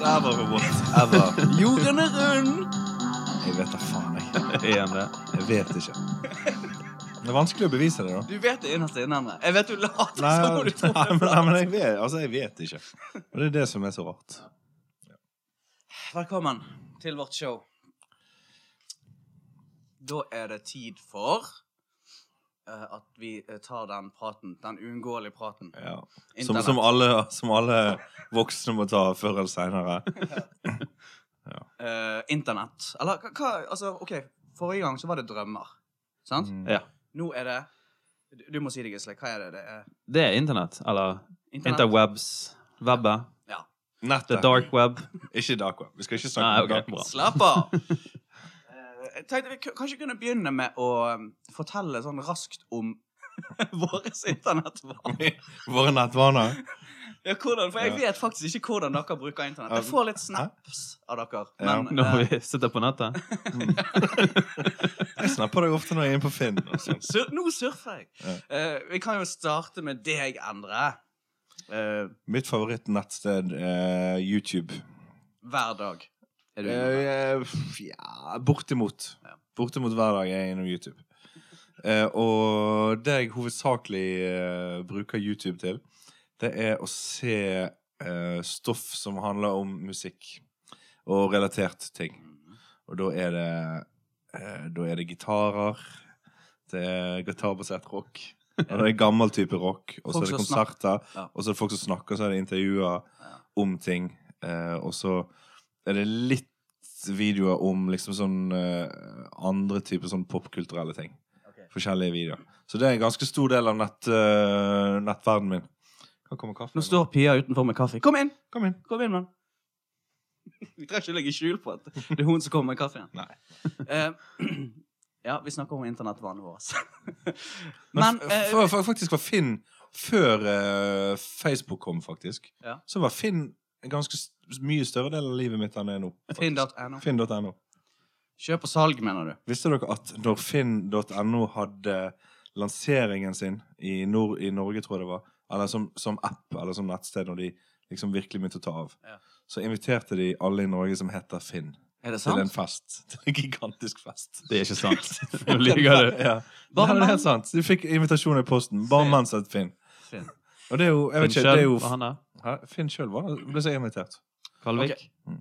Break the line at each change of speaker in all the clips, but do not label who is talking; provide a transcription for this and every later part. ever robot.
Ever.
Jorden er rund!
Jeg vet da faen, jeg.
Er han det?
Jeg vet ikke. Det er vanskelig å bevise det, da.
Du vet det innerst inne, Endre. Jeg vet du later
Nei,
som om du tror
nei,
det.
men, nei, men jeg vet, altså, jeg vet ikke. Og det er det som er så rart.
Velkommen til vårt show. Da er det tid for eh, at vi eh, tar den praten, den uunngåelige praten.
Ja. Som,
Internett.
som, alle, som alle voksne må ta før eller seinere.
Eh, internett. Eller hva- hva Altså, OK, forrige gang så var det drømmer. Sant?
Mm.
Ja.
Nå er det du- Du må si det, Gisle. Hva er det? Det er
Det er internett. Eller
internett?
interwebs. Webbet.
Ja.
The
Nettet.
dark web.
Ikke dark web. Vi skal ikke snakke
Nei,
om
ok,
dark web.
bra.
Slapp av! Eh, Jeg tenkte vi ku- kanskje kunne begynne med å um, fortelle sånn raskt om våres internettvalg.
Våre nettvaner.
Ja, hvordan, for jeg
Ja.
vet faktisk ikke hvordan dere bruker internett. Jeg får litt snaps av dere.
Ja.
Men,
Når
eh,
vi sitter på nettet.
Jeg snapper deg ofte når jeg er inne på Finn. altså. Og sånt.
sur, nå surfer jeg.
Ja.
Eh, vi kan jo starte med deg, Endre. Eh,
Mitt favorittnettsted er YouTube.
hver dag. Er du inne
Eh,
der?
f- ja, bortimot.
Ja.
Bortimot hver dag er jeg innom YouTube. Eh, og det jeg hovedsakelig eh, bruker YouTube til, det er å se eh, stoff som handler om musikk og relatert ting.
Mhm.
Og da er det eh, Da er det gitarer. Det er gitarbasert rock. Og det er gammel type rock. Og så
Folk
er det
som snakker.
konserter.
Ja.
Og så er det folk som snakker, og så er det intervjuer
Ja.
om ting. Eh, og så er det litt videoer om liksom sånn eh, andre typer sånn popkulturelle ting.
Ok.
Forskjellige videoer. Så det er en ganske stor del av nett, eh, nettverdenen min. Kan komme kaffe?
Nå står Pia utenfor med kaffe. Kom inn!
Kom inn.
Kom inn, mann. Vi trenger ikke legge skjul på at det er hun som kommer med kaffen.
Nei.
Eh, ja, vi snakker om internettvanene våre.
Men,
Men
f-
eh,
f- f- faktisk var Finn Før eh, Facebook kom, faktisk,
Ja.
så var Finn en ganske s- mye større del av livet mitt enn det er nå. faktisk.
Finn.no.
Finn.no.
Kjøp og salg, mener du?
Visste dere at når Finn.no hadde lanseringen sin i, nord, i Norge, tror jeg det var, eller som, som app eller som nettsted, når de liksom virkelig begynte å ta av,
Ja.
så inviterte de alle i Norge som heter Finn,
Er det
til en
sant?
fest. Til en gigantisk fest.
Det er ikke sant. Nå lyver du.
Ja.
Bare
Nei, det
menn?
er helt sant. De fikk invitasjon i posten. Bare
Se.
menn som het Finn.
Finn.
Og det er jo, jeg vet ikke,
Finn
det er
Kjell,
jo
var han der?
Hæ? Finn sjøl ble så invitert.
Kalvik?
Ok. Mm.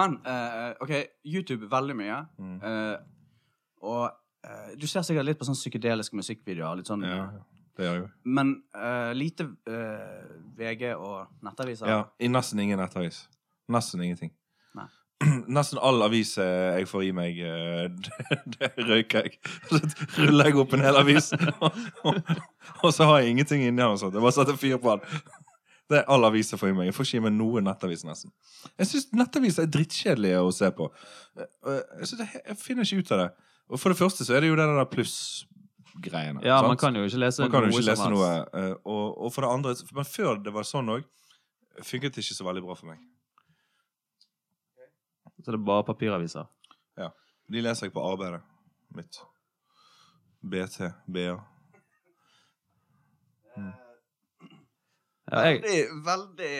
Men eh, OK, YouTube veldig mye.
Mm.
eh, og eh, du ser sikkert litt på sånn psykedeliske musikkvideoer. Litt sånn,
Ja, det gjør jeg jo.
Men eh, lite eh, VG og nettaviser.
Ja, I nesten ingen nettavis. Nesten ingenting.
Nei.
Nesten all avis eh, jeg får i meg, eh, det, det røyker jeg. Så ruller jeg opp en hel avis, og, og, og så har jeg ingenting inni den. og sånt. Jeg bare setter fyr på den. Det er all avis jeg får i meg. Jeg får ikke i meg noe nettavis, nesten. Jeg syns nettaviser er drittkjedelige å se på. Eh, eh, Jeg, synes det, jeg finner ikke ut av det. Og for det første så er det jo det der pluss-greiene.
Ja,
sant?
man kan jo ikke lese
Man kan jo ikke
eh, noe
lese
som
noe.
helst.
eh, Og, og for det andre, men før det var sånn òg, funket det ikke så veldig bra for meg.
Så det er bare papiraviser.
De leser jeg på arbeidet mitt. BT, BA.
Ja, jeg,
Veldig, veldig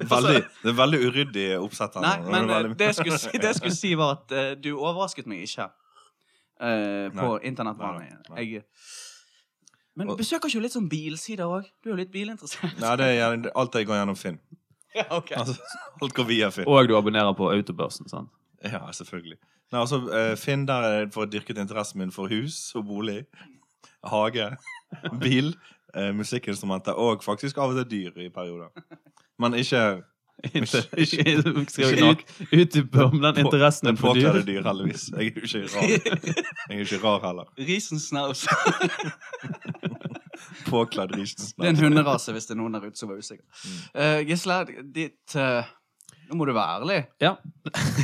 altså,
Veldig, det er veldig uryddig oppsett. her
Nei,
nå.
men
Det er
eh,
veldig-
det jeg skulle si, det jeg skulle si var at eh, du overrasket meg ikke eh, på
Nei.
internettvannet.
Nei, nei.
Jeg Men
Og-
besøker ikke du litt sånn bilsider òg? Du er jo litt bilinteressert.
Nei, det er gjerne- alt jeg går gjennom Finn.
Ja, ok.
Altså, alt går via Finn.
og du abonnerer på Autobørsen, sant?
Ja, selvfølgelig. Nei, altså, eh, Finn der er for dyrket interessen min for hus og bolig, hage, bil, eh, musikkinstrumenter og faktisk av og til dyr i perioder. Men ikke
Inter-
Ikke-
Skal vi
ikke
ut- utdype om den interessen din
Den
for dyr?
påkledde dyr, heldigvis. Jeg er jo ikke rar. Jeg er jo ikke rar heller.
Risen snaus.
Påkledd risen
Det er en
snart.
hunderase, hvis det er noen der ute som er usikker. Eh, Gisle, ditt eh, Nå må du være ærlig.
Ja.
sant?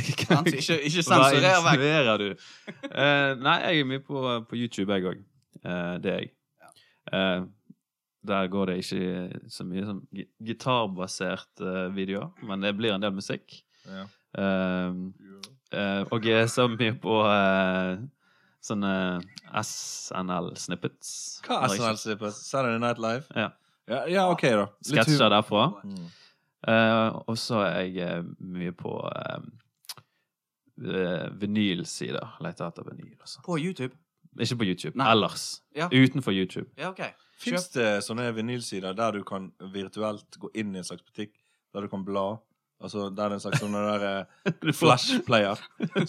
Ikke, ikke
Hva
sensurer vekk.
insinuerer du? Eh, nei, jeg er mye på, på YouTube, jeg òg. det er jeg. Eh, der går det ikke så mye som gi- gitarbasert eh, videoer, men det blir en del musikk.
Ja.
Eh, eh, og jeg er så mye på eh, sånne SNL-snippets.
Hva er SNL-slippet? Saturday Night Live?
Ja.
Ja, ja, ok, da. Litt
Sketsjer derfra.
Mm.
Eh, og så er jeg eh, mye på eh, eh, vinylsider. Leter etter vinyl og sånn.
På YouTube?
Ikke på YouTube.
Nei.
Ellers.
Ja.
Utenfor YouTube.
Ja, OK.
Fins det sånne vinylsider der du kan virtuelt gå inn i en slags butikk, der du kan bla? Altså, Der det er en slags sånn der eh, flashplayer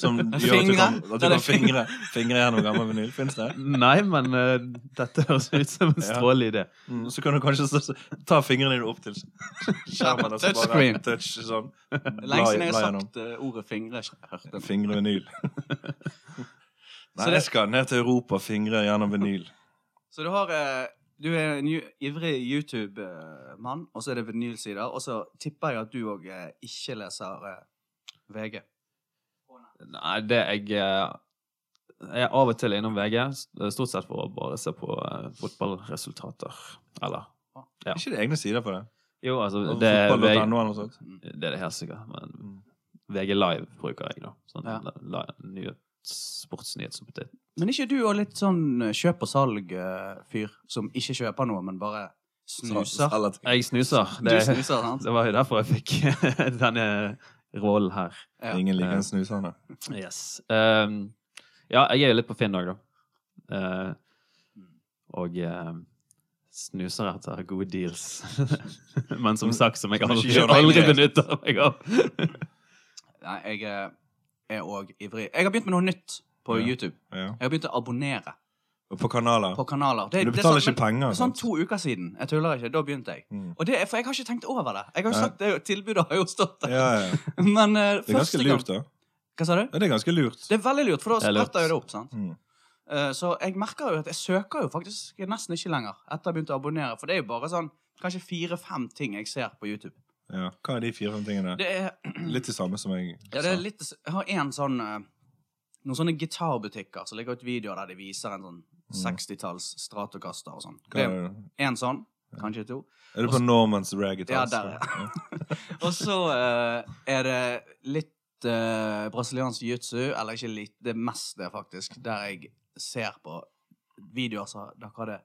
som gjør at du
Fingre?
kan, at
Der
du
det
kan fingre, fingre gjennom gammel vinyl. Fins det?
Nei, men eh, dette høres ut som en
Ja.
strålende idé.
Mm, så kan du kanskje så, så, ta fingrene dine opp til skjermen. og så bare
Touchscreen.
Touch, sånn.
Det er Lenge siden jeg
bla
har
gjennom.
sagt eh, ordet fingre. Jeg har ikke hørt det.
Fingre vinyl. Nei,
Så det-
jeg skal ned til Europa fingre gjennom vinyl.
Så du har eh, Du er en ju- ivrig YouTube-mann, og så er det vinylsider. Og så tipper jeg at du òg ikke leser eh, VG.
Nei, det jeg eh, Jeg er av og til innom VG, eh, stort sett for å bare se på eh, fotballresultater. Eller Ja.
Er ikke det egne sider for det?
Jo, altså
Altså,
Det er
fotball.no
VG,
eller noe sånt.
det, er det helt sikkert. Men
Mm.
VG Live bruker jeg, da. Sånn
Ja.
la, nye sportsnyhetsoppdatering.
Men er ikke du òg litt sånn eh, kjøp og salg-fyr som ikke kjøper noe, men bare snuser?
Eller-
Jeg snuser.
Du
Det,
snuser, sant?
det var jo derfor jeg fikk denne rollen her.
Ja.
Ingen liker en snusende.
Yes. Ehm, ja, jeg er jo litt på Finn òg, da. Eh, og ehm, snuser etter gode deals. Men som sagt, som jeg
Som
aldri,
ikke gjør deg
aldri
redd.
benytter meg av.
Nei, jeg eh, er òg ivrig. Jeg har begynt med noe nytt på
Ja.
YouTube.
Ja.
Jeg har begynt å abonnere
Og på kanaler.
på kanaler. Det,
Men du
det er
betaler
sånn-
ikke penger.
men- Sånn
sant?
to uker siden. Jeg tuller ikke. Da begynte jeg.
Mm.
Og det er, for jeg har ikke tenkt over det. Jeg har jo
Nei.
sagt det, er jo- Tilbudet har jo stått der.
Ja, ja.
Men eh,
Det er ganske
første gang
lurt, da.
Hva sa du?
Ja, det er ganske lurt.
Det er veldig lurt, for da
Det er lurt.
spretter jo det opp. sant?
Mm.
Eh, Så jeg merker jo at jeg søker jo faktisk nesten ikke lenger etter jeg begynte å abonnere. For det er jo bare sånn kanskje fire-fem ting jeg ser på YouTube.
Ja. Hva er de fire-fem tingene?
Det er,
Litt det samme som jeg
ja, det er litt Jeg har en sånn eh, Noen sånne gitarbutikker som legger ut videoer der de viser en sånn 60-talls Stratocaster og sånn.
Mm. Hva
Det
er,
er
det?
en sånn. Kanskje to.
er du på Normans Rag
Ja, der,
ja.
Og så eh, er det litt eh, brasiliansk jiu-jitsu, eller ikke litt, det meste faktisk, der jeg ser på videoer som dere hadde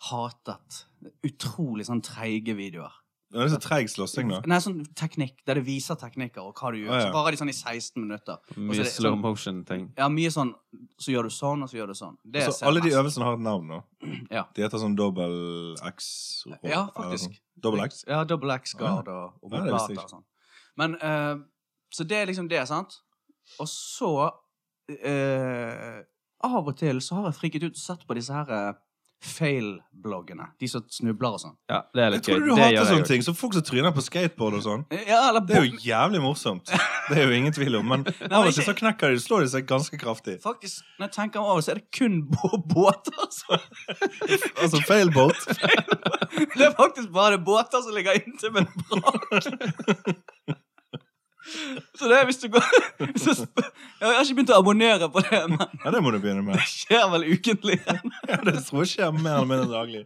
hatet. Utrolig sånn treige videoer.
Det er så treig slåssing, da.
Nei, sånn teknikk, der det viser teknikker og hva du gjør.
Å, ja.
Så varer de sånn i 16 minutter. Og så er
Mye
det
slow
sånn-
motion-ting.
Ja, mye sånn, så gjør du sånn, og så gjør du sånn. Det
Så
ser
alle de
jeg mest.
øvelsene har et navn nå.
Ja.
De heter sånn dobbel X. sånn.
Ja, faktisk.
Dobbel X?
Ja, double X-guard og, og
Ja, det visste jeg
blater og sånn. Men, eh, så det er liksom det, sant? Og så eh, Av og til så har jeg friket ut og sett på disse her eh, fail-bloggene. De som snubler og sånn.
Ja, det er
Jeg
litt gøy.
trodde du
Det gjør
hater
jeg
sånne
også.
ting. Så folk som tryner på skateboard og sånn.
Eh, Ja, eller
Det er jo jævlig morsomt. Det er jo ingen tvil om. Men av og til så knekker de, slår de seg ganske kraftig.
Faktisk, når jeg tenker meg over, så er det kun bå- båter som
Altså failboat.
Det er faktisk bare båter som ligger inntil med en brak. Så det er hvis du går så sp- Jeg har ikke begynt å abonnere på det, men
Ja, det må du begynne med.
det skjer vel ukentlig.
Ja, det tror jeg skjer mer eller mindre daglig.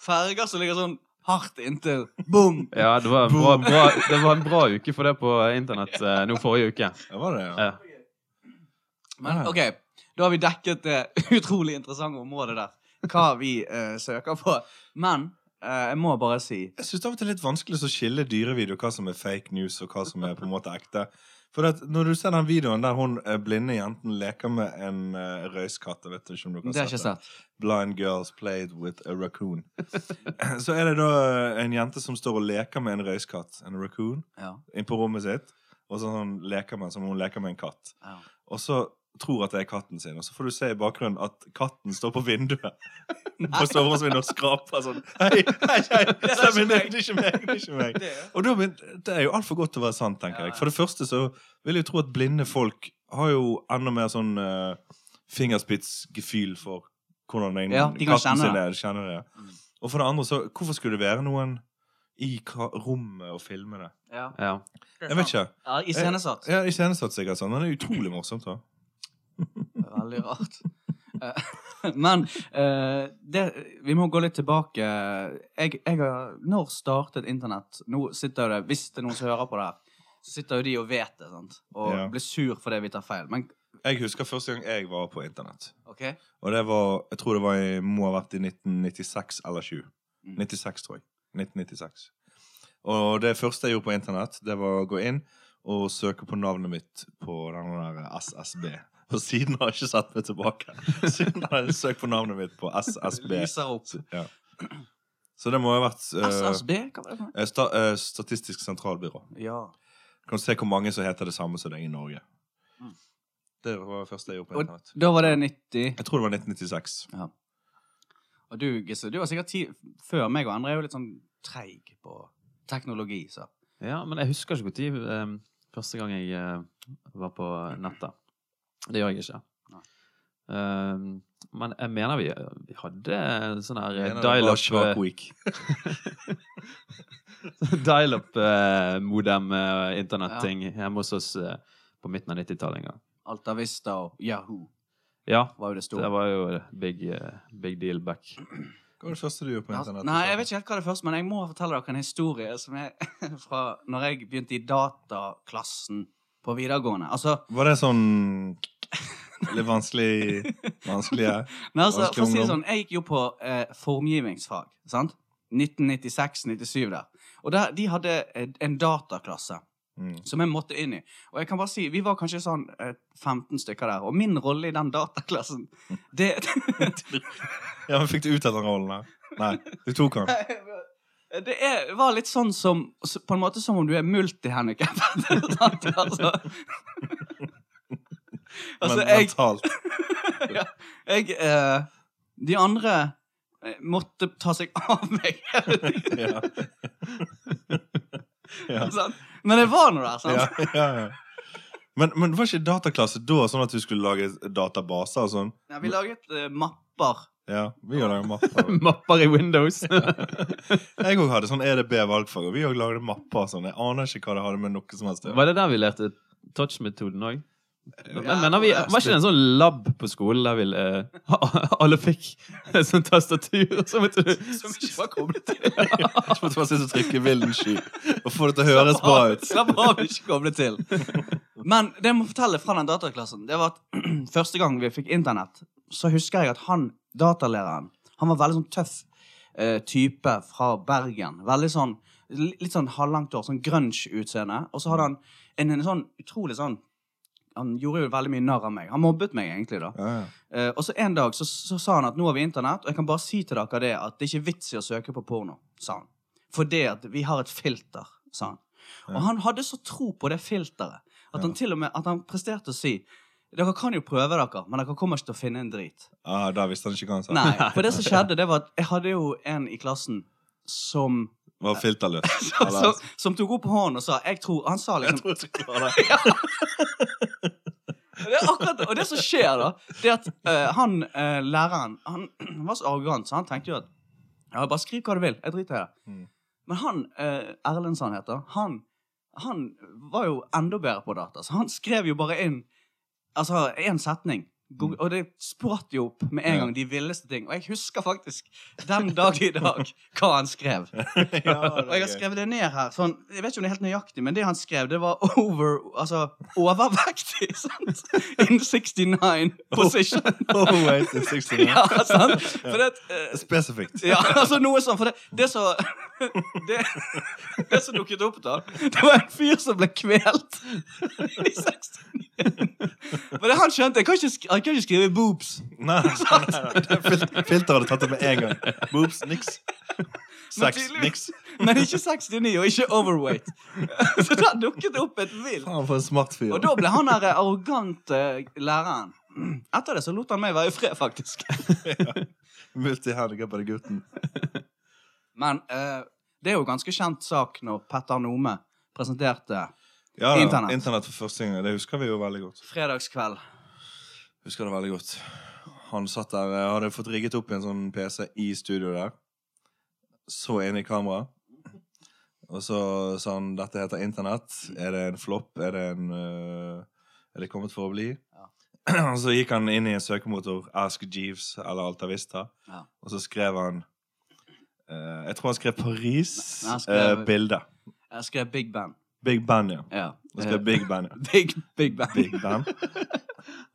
Ferger som ligger sånn hardt inntil. Boom!
Ja, det var, en bra, bra, det var en bra uke for det på internett eh, nå forrige uke.
Ja, var det, ja.
Ja.
Men
Ja.
OK, da har vi dekket det utrolig interessante området der. Hva vi eh, søker på. Men eh, jeg må bare si
Jeg synes det av og til er litt vanskelig å skille dyrevideo hva som er fake news, og hva som er på en måte ekte. For at når du ser den videoen der hun eh, blinde jenten leker med en eh, røyskatt jeg vet ikke om du
Det
kan
har jeg ikke
det.
sett.
Blind girls played with a raccoon. Så er det da eh, en jente som står og leker med en røyskatt, en raccoon,
Ja,
inn på rommet sitt. Og så sånn leker man som om hun leker med en katt.
ja.
Og så tror at det er katten sin, og så får du se i bakgrunnen at katten står på vinduet. På soveromsvinduet og skraper sånn. Hei, hei, hei!
er
Stemmer
ikke
det,
meg.
det er ikke meg! Det er ikke meg.
Det,
Og da, men, det er jo altfor godt til å være sant, tenker
Ja,
jeg.
ja.
For det første så vil jeg jo tro at blinde folk har jo enda mer sånn eh, fingerspitzgefühl for hvordan den,
Ja, de kan
katten
kjenne
sin
det.
er. Kjenner det.
Mm.
Og for det andre, så hvorfor skulle det være noen i ka rommet og filme det?
ja.
Ja.
Jeg vet ikke.
Ja, Iscenesatt.
Ja, Iscenesatt sikkert sånn. Men Det er utrolig morsomt, da.
Veldig rart. Eh, Men eh, det, vi må gå litt tilbake. Jeg, jeg har, når startet internett? Nå sitter det, Hvis det er noen som hører på det her, så sitter jo de og vet det, sant? og
Ja.
blir sur fordi vi tar feil. Men
Jeg husker første gang jeg var på internett.
OK?
Og det var Jeg tror det var i, må ha vært i 1996 eller 7.
Mm.
96, tror jeg. 1996. Og det første jeg gjorde på internett, det var å gå inn og søke på navnet mitt på den der SSB. Og siden har jeg ikke sett meg tilbake. Siden har jeg søkt på navnet mitt på SSB.
Lyser opp.
Ja. Så det må ha vært eh,
SSB, hva var det for noe?
eh, sta, eh, Statistisk sentralbyrå.
Ja.
Kan du se hvor mange som heter det samme som deg i Norge.
Mm.
Det var det første jeg gjorde på
Og
internett.
da var det 90.
Jeg tror det var 1996.
Og du, Gisse, du var sikkert ti før meg og andre er jo litt sånn treig på teknologi, så.
Ja, men jeg husker ikke når um, første gang jeg eh, var på nettet. Det gjør jeg ikke.
Nei.
Ehm, men jeg mener vi, vi hadde sånn her eh,
Jeg mener det var Shark
dial-up
Week.
dial modem eh, internetting hjemme hos oss eh, på midten av 90-tallet en gang.
Alta Vista og Yahoo
Ja,
var jo det store.
det var jo big, eh, big deal back.
Hva var det første du gjorde på
Ja,
internett?
Nei, jeg vet ikke helt hva det er først, men jeg må fortelle dere en historie som er fra når jeg begynte i dataklassen på videregående. Altså,
Var det sånn Litt vanskelig Vanskelig, ja.
men altså
Vanskelig
for å si det
ungdom.
sånn, jeg gikk jo på eh, formgivningsfag, sant? 1996-97 der. Og der, de hadde eh, en dataklasse
Mm.
som jeg måtte inn i. Og jeg kan bare si, vi var kanskje sånn eh, 15 stykker der, og min rolle i den dataklassen, det...
Ja, men Fikk du ut av den rollen? da? Nei, du tok den.
Det er, var litt sånn som På en måte som om du er multihandikappet. sant? altså,
Men
altså jeg,
mentalt.
ja, jeg eh, De andre eh, måtte ta seg av meg. hele tiden,
Ja. ja.
sant? Men jeg var nå der, sant?
ja, ja, ja. Men, men var ikke dataklasse da sånn at du skulle lage databaser og sånn?
Ja, vi laget eh, mapper.
Ja, vi gjør det jo mapper.
Mm.
Mapper i Windows.
Jeg òg hadde sånn EDB-valgfag, og vi òg lagde mapper og sånn. Jeg aner ikke hva det hadde med noe som helst å gjøre.
Var det der vi lærte touch-metoden òg?
Ja,
Men mener vi, var ikke det en sånn lab på skolen der vi eh, alle fikk et sånt tastatur, og så måtte du
Som ikke var koblet til.
Jeg måtte bare sitte og trykke vilden sky og få det til å høres bra ut.
Slapp av, ikke koble til. Men det jeg må fortelle fra den dataklassen, det var at første gang vi fikk internett, så husker jeg at han datalæreren, han var veldig sånn tøff eh, type fra Bergen. Veldig sånn li- Litt sånn halvlangt hår, sånn grunge-utseende. Og så hadde han en, en sånn utrolig sånn Han gjorde jo veldig mye narr av meg. Han mobbet meg egentlig, da.
Ja, ja.
Eh, og så en dag så, så sa han at nå har vi internett, og jeg kan bare si til dere det at det er ikke vits i å søke på porno, sa han. For det at vi har et filter, sa han. Og han hadde så tro på det filteret at han til og med at han presterte å si dere kan jo prøve dere, men dere kommer ikke til å finne en drit.
Ah, da visste han ikke hva han sa.
Nei, For det som skjedde, det var at jeg hadde jo en i klassen som
Var filterløs.
Som, som, som tok opp hånden og sa jeg tror, Han sa liksom
tror ikke det var det.
Det er akkurat det. Og det som skjer, da, det er at eh, han eh, læreren han, han var så arrogant, så han tenkte jo at Ja, bare skriv hva du vil. Jeg driter i det.
Mm.
Men han uh, Erlendsson heter han. Han var jo enda bedre på data, så han skrev jo bare inn Altså én setning. Go-
Mm.
Og det spratt jo opp med en
Ja.
gang de villeste ting. Og jeg husker faktisk den dag i dag hva han skrev.
Ja, det
Og jeg har
er gøy.
skrevet det ned her. Sånn, jeg vet ikke om det er helt nøyaktig, men det han skrev, det var over, altså, overvektig. Sant? In 69 position.
Oh, wait, it's 69.
Ja, sant? For det, at, eh,
Spesifikt.
ja, altså noe sånn, for det, det som det, det som dukket opp, da, det var en fyr som ble kvelt i 69. For det han skjønte, jeg kan ikke, sk- jeg kan ikke skrive boobs.
Nei, nei, nei, det er fil- filter hadde tatt det med en gang. Boobs, niks.
Men
Sex,
tydeligvis-
niks.
Men ikke 69, og ikke overweight. Så der dukket det opp et vilt.
Faen, for en smart fyr.
Og da ble han der eh, arrogante eh, læreren. Etter det så lot han meg være i fred, faktisk.
Multihandikappede gutten.
Men eh, det er jo ganske kjent sak når Petter Nome presenterte
Ja, da,
Internett.
Internett for første gang. Det husker vi jo veldig godt.
Fredagskveld.
Husker det veldig godt. Han satt der, eh, hadde fått rigget opp i en sånn PC i studio der. Så inn i kamera. Og så sa han dette heter internett. Er det en flopp? Er det en eh, Er det kommet for å bli? Og så gikk han inn i en søkemotor, Ask Jeeves eller Altavista,
Ja.
og så skrev han eh, Jeg tror han skrev Paris.
Nei, han skrev-
eh, bilde.
Jeg skrev Big Band.
Big Band, ja.
Ja.
Han skrev Big Band, ja.
Big, Big Band.
Big Band.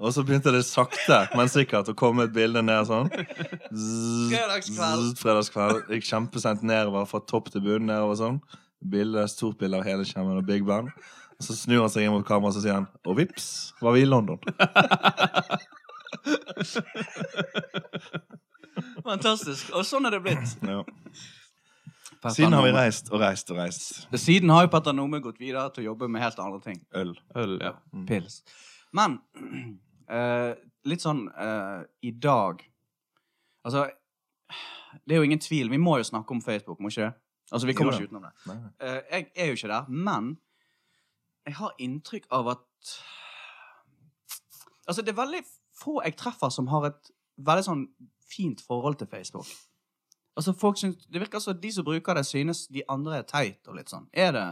Og så begynte det sakte, men sikkert å komme et bilde ned sånn. Zzz,
Fredagskveld.
zzz, Fredagskveld. Gikk kjempesent nedover fra topp til bunn nedover sånn. bilde, stort bilde av hele skjermen og Big Band. Og så snur han seg inn mot kameraet og så sier han Og vips, var vi i London.
Fantastisk. Og sånn er det blitt.
Ja. Siden har vi reist og reist og reist.
Siden har jo Petter Nome gått videre til å jobbe med helt andre ting.
Øl.
Øl, ja.
Mm.
Pils. Men eh, litt sånn eh, i dag Altså, det er jo ingen tvil. Vi må jo snakke om Facebook, må ikke det? Altså, vi kommer
Jo da.
ikke utenom det.
Nei.
Eh, jeg er jo ikke der, men jeg har inntrykk av at Altså, det er veldig få jeg treffer som har et veldig sånn fint forhold til Facebook. Altså, folk syns Det virker som de som bruker det, synes de andre er teit og litt sånn. Er det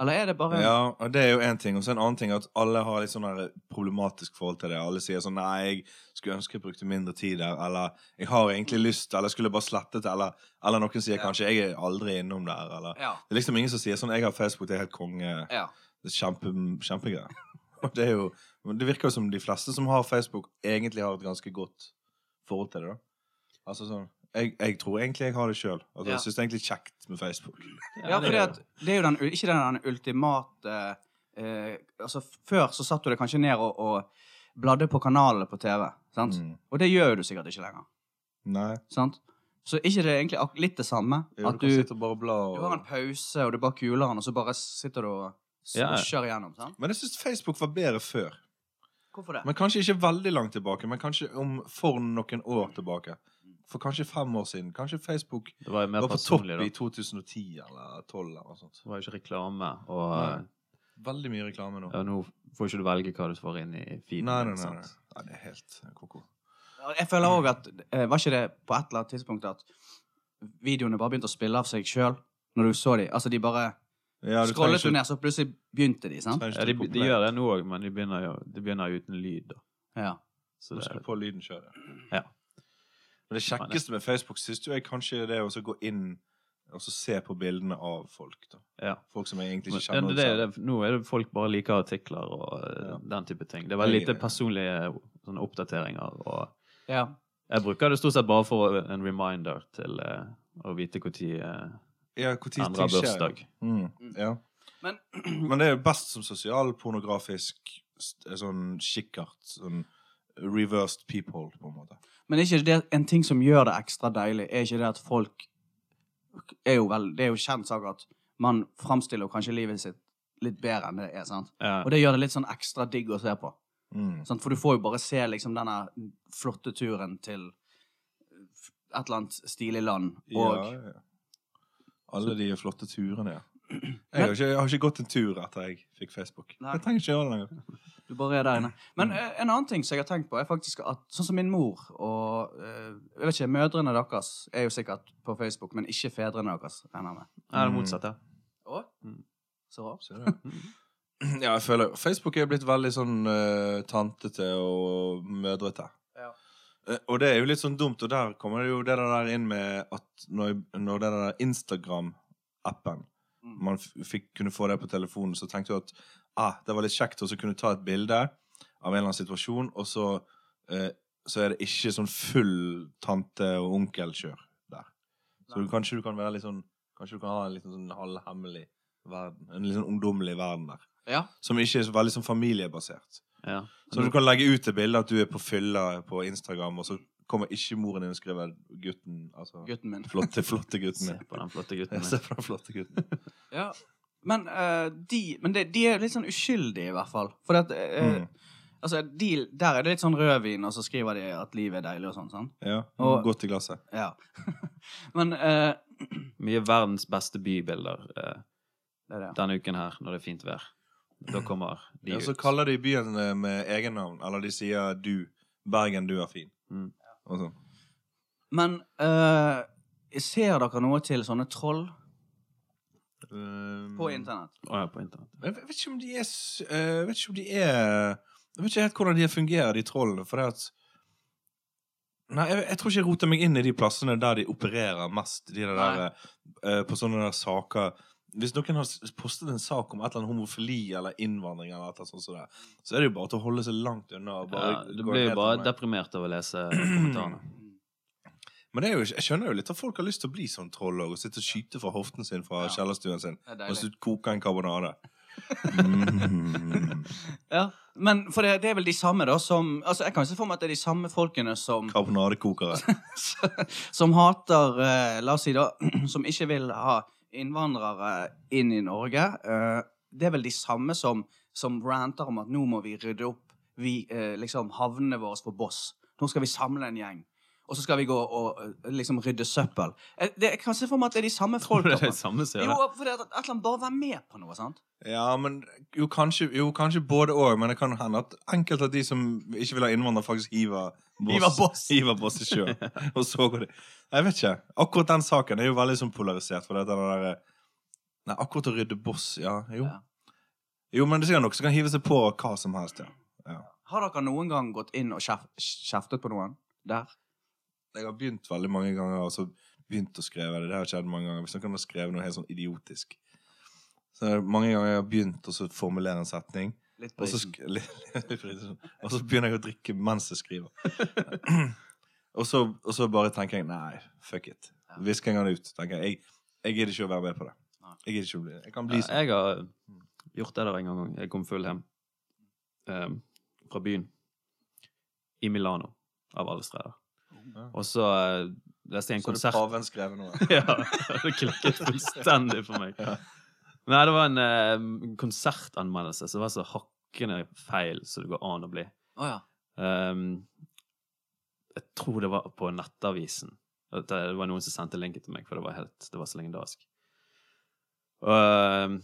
Eller er det bare
Ja, og det er jo en ting. Og så en annen ting er at alle har litt sånn der problematisk forhold til det. Alle sier sånn Nei, jeg skulle ønske jeg brukte mindre tid der. Eller jeg har egentlig lyst, eller jeg skulle bare slettet det. Eller, eller noen sier
Ja.
kanskje Jeg er aldri innom der. Eller
Ja.
Det er liksom ingen som sier sånn Jeg har Facebook, det er helt konge.
ja.
Det er kjempe, kjempegreier. Og det er jo men Det virker jo som de fleste som har Facebook, egentlig har et ganske godt forhold til det, da. Altså sånn Jeg, jeg tror egentlig jeg har det sjøl. Altså,
Ja.
Jeg syns det er egentlig kjekt med Facebook.
Ja, for det, det er jo den, u- ikke den, den ultimate eh, Altså, f- før så satt du deg kanskje ned og, og bladde på kanalene på TV, sant?
Mm.
Og det gjør jo du sikkert ikke lenger,
Nei.
sant? Så er ikke det egentlig ak- litt det samme?
Jo,
At
du kan
du,
sitte og bare bla
du
og
har en pause, og du bare kuler den, og så bare sitter du og
Ja, ja.
sosjer igjennom, sant?
Men jeg syns Facebook var bedre før.
Hvorfor det?
Men kanskje ikke veldig langt tilbake, men kanskje om for noen år tilbake. For kanskje fem år siden. Kanskje Facebook
Det var jo mer
var på topp
personlig, da.
i 2010 eller 2012 eller noe sånt.
Det var jo ikke reklame, og eh,
Nei. Veldig mye reklame nå.
ja, nå får ikke du velge hva du får inn i feeden.
Nei, nei,
ikke
nei.
sant?
nei. nei det er helt eh, ko-ko.
Jeg føler òg at eh, Var ikke det på et eller annet tidspunkt at videoene bare begynte å spille av seg sjøl? Når du så de? Altså, de bare
Ja, du trenger
scrollet
ikke-
du ned, så plutselig begynte de, sant?
trenger ikke
Ja, de,
trykke på
de
play.
gjør det nå òg, men de begynner, jo, de begynner jo uten lyd, da.
Ja.
Så
Du
det,
skru på lyden sjøl.
Ja.
Men det kjekkeste med Facebook syns du er kanskje det å så gå inn og så se på bildene av folk. da.
ja.
Folk som jeg egentlig
Men,
ikke
ja,
kjenner.
det, er jo det, nå er det folk bare liker artikler og eh,
Ja.
den type ting. Det er veldig lite
Jeg-
personlige sånne oppdateringer. Og
ja.
jeg bruker det stort sett bare for en reminder til eh, å vite når
Ja, hvor tid
andre
ting
har
skjer.
bursdag.
Mm, ja.
Men
Men det er jo best som sosialpornografisk st- sånn kikkert. Sånn reversed peephole, på en måte.
Men er ikke det en ting som gjør det ekstra deilig, er ikke det at folk er jo vel, Det er jo kjent sak at man framstiller jo kanskje livet sitt litt bedre enn det er. sant?
Ja.
Og det gjør det litt sånn ekstra digg å se på.
Mm.
sant? For du får jo bare se liksom denne flotte turen til et eller annet stilig land. Og
Ja, ja. Alle de flotte turene, ja. Jeg har ikke, jeg har ikke gått en tur etter jeg fikk Facebook.
Nei.
Jeg trenger ikke gjøre det lenger.
du bare er der inne. Men eh, en annen ting som jeg har tenkt på, er faktisk at sånn som min mor og eh, jeg vet ikke, Mødrene deres er jo sikkert på Facebook, men ikke fedrene deres, regner jeg med.
Ja,
Mm.
det motsatte.
Å?
Mm.
Så rart.
Ser du det? Ja, jeg føler Facebook er blitt veldig sånn eh, tantete og mødrete.
Ja.
Eh, Og det er jo litt sånn dumt, og der kommer det jo det der inn med at når, når det der Instagram-appen
Mm.
man f- fikk, kunne få det på telefonen, så tenkte jeg at ah, det var litt kjekt å så kunne ta et bilde av en eller annen situasjon, og så, eh, så er det ikke sånn full tante- og onkelkjør der. Så
Nei.
du, kanskje du kan være litt sånn Kanskje du kan ha en liten sånn halvhemmelig verden. En litt sånn ungdommelig verden der.
Ja.
Som ikke er så veldig sånn familiebasert.
Ja.
Så du kan legge ut det bildet at du er på fylla på Instagram, og så kommer ikke moren din og skriver 'gutten'. Altså,
gutten min.
flotte, flotte gutten
Se
min.
på den flotte
Jeg
gutten
ser
min.
på den flotte gutten.
Ja. Men, eh, de, men det, de er litt sånn uskyldige, i hvert fall. For at, eh,
Mm.
altså, de, der er det litt sånn rødvin, og så skriver de at livet er deilig og sånn. sånn.
Ja,
Og-
Godt i glasset.
Ja. men eh,
Mye verdens beste bybilder eh,
det er det.
denne uken her, når det er fint vær. Da kommer de
Ja, så
ut.
kaller de byen eh, med egennavn. Eller de sier 'du'. 'Bergen, du er fin'.
Mm.
Og sånn.
Men eh, ser dere noe til sånne troll
Um,
på internett?
Å ja, på internett.
Jeg vet ikke om de er s- eh, Jeg vet ikke om de er Jeg vet ikke helt hvordan de fungerer, de trollene, for det at Nei, jeg, jeg tror ikke jeg roter meg inn i de plassene der de opererer mest, de der,
Nei.
eh, på sånne der saker Hvis noen har s- postet en sak om et eller annet homofili eller innvandring, eller et eller annet sånt som det, så er det jo bare til å holde seg langt unna. og Bare,
Ja, du
gå
Eh, blir jo
helt
bare
unna.
deprimert av å lese kommentarene.
Men det er jo, ikke- jeg skjønner jo litt at folk har lyst til å bli sånn troll og sitte og skyte fra hoften sin fra
Ja.
kjellerstuen sin.
Det er
Og
deilig.
så koke en karbonade. Mm.
Ja, men for det, det er vel de samme da som Altså, jeg kan ikke se for meg at det er de samme folkene som
Karbonadekokere.
Som hater, eh, la oss si da, som ikke vil ha innvandrere inn i Norge. eh, det er vel de samme som, som ranter om at nå må vi rydde opp vi, eh, liksom havnene våre for boss. Nå skal vi samle en gjeng. Og så skal vi gå og eh, liksom rydde søppel. Eh, det, jeg kan se for meg at det er de samme
Tror du
folka.
det er det samme som
Jo,
gjør det?
for det er at et eller annet bare være med på noe, sant?
Ja, men jo, kanskje, jo, kanskje både òg. Men det kan hende at enkelte av de som ikke vil ha innvandrere, faktisk hiver boss,
Hiver boss.
hiver boss i sjøen. og så går det Jeg vet ikke. Akkurat den saken er jo veldig sånn polarisert. For det er den der, eh, Nei, akkurat å rydde boss, ja. Jo,
Ja.
jo men det er sikkert noen som kan hive seg på hva som helst. ja.
Har dere noen gang gått inn og kjef, kjeftet på noen der?
Jeg har begynt veldig mange ganger og så begynt å skrive det. Det har skjedd mange ganger. Hvis noen har skrevet noe helt sånn idiotisk. Så er det mange ganger jeg har begynt å så formulere en setning.
Litt på
Og så,
isen.
sk- litt, litt for lite sånn. og så begynner jeg å drikke mens jeg skriver. og, så, og så bare tenker jeg nei, fuck it.
Ja.
Visker jeg den ut. tenker Jeg jeg gidder ikke å være med på det.
Nei.
Jeg gidder ikke å bli Jeg kan
Ja,
bli sånn.
jeg har gjort det der en gang. Jeg kom full hjem eh, fra byen i Milano, av alle steder.
Ja.
Og så eh, leste jeg en
Så hadde
konsert
paven skrevet noe.
ja, det klikket fullstendig for meg. Nei, det var en eh, konsertanmeldelse som var så hakkende feil som det går an å bli.
Å ja.
Ehm, jeg tror det var på Nettavisen. At Det var noen som sendte linken til meg, for det var, helt, det var så legendarisk. Ehm,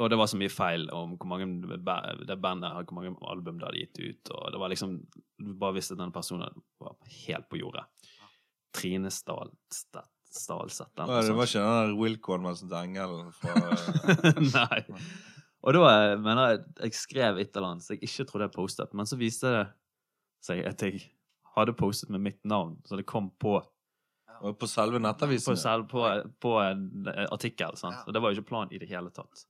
og det var så mye feil om hvor mange ba- det bandet har, hvor mange album det hadde gitt ut. Og det var liksom, Du bare visste at den personen var helt på jordet. Trine Stalstedt Stalseth. eller
Å,
noe
ja, Det
sånt.
var ikke den der Wilcon-meldelsen til engelen fra
Nei. Og da eh, mener jeg jeg skrev et eller annet som jeg ikke trodde jeg postet, men så viste det seg at jeg hadde postet med mitt navn, så det kom på,
Og På selve
på,
nettavisen. ja.
selv, på, på en eh, artikkel. Sant?
Ja.
Og det var jo ikke planen i det hele tatt.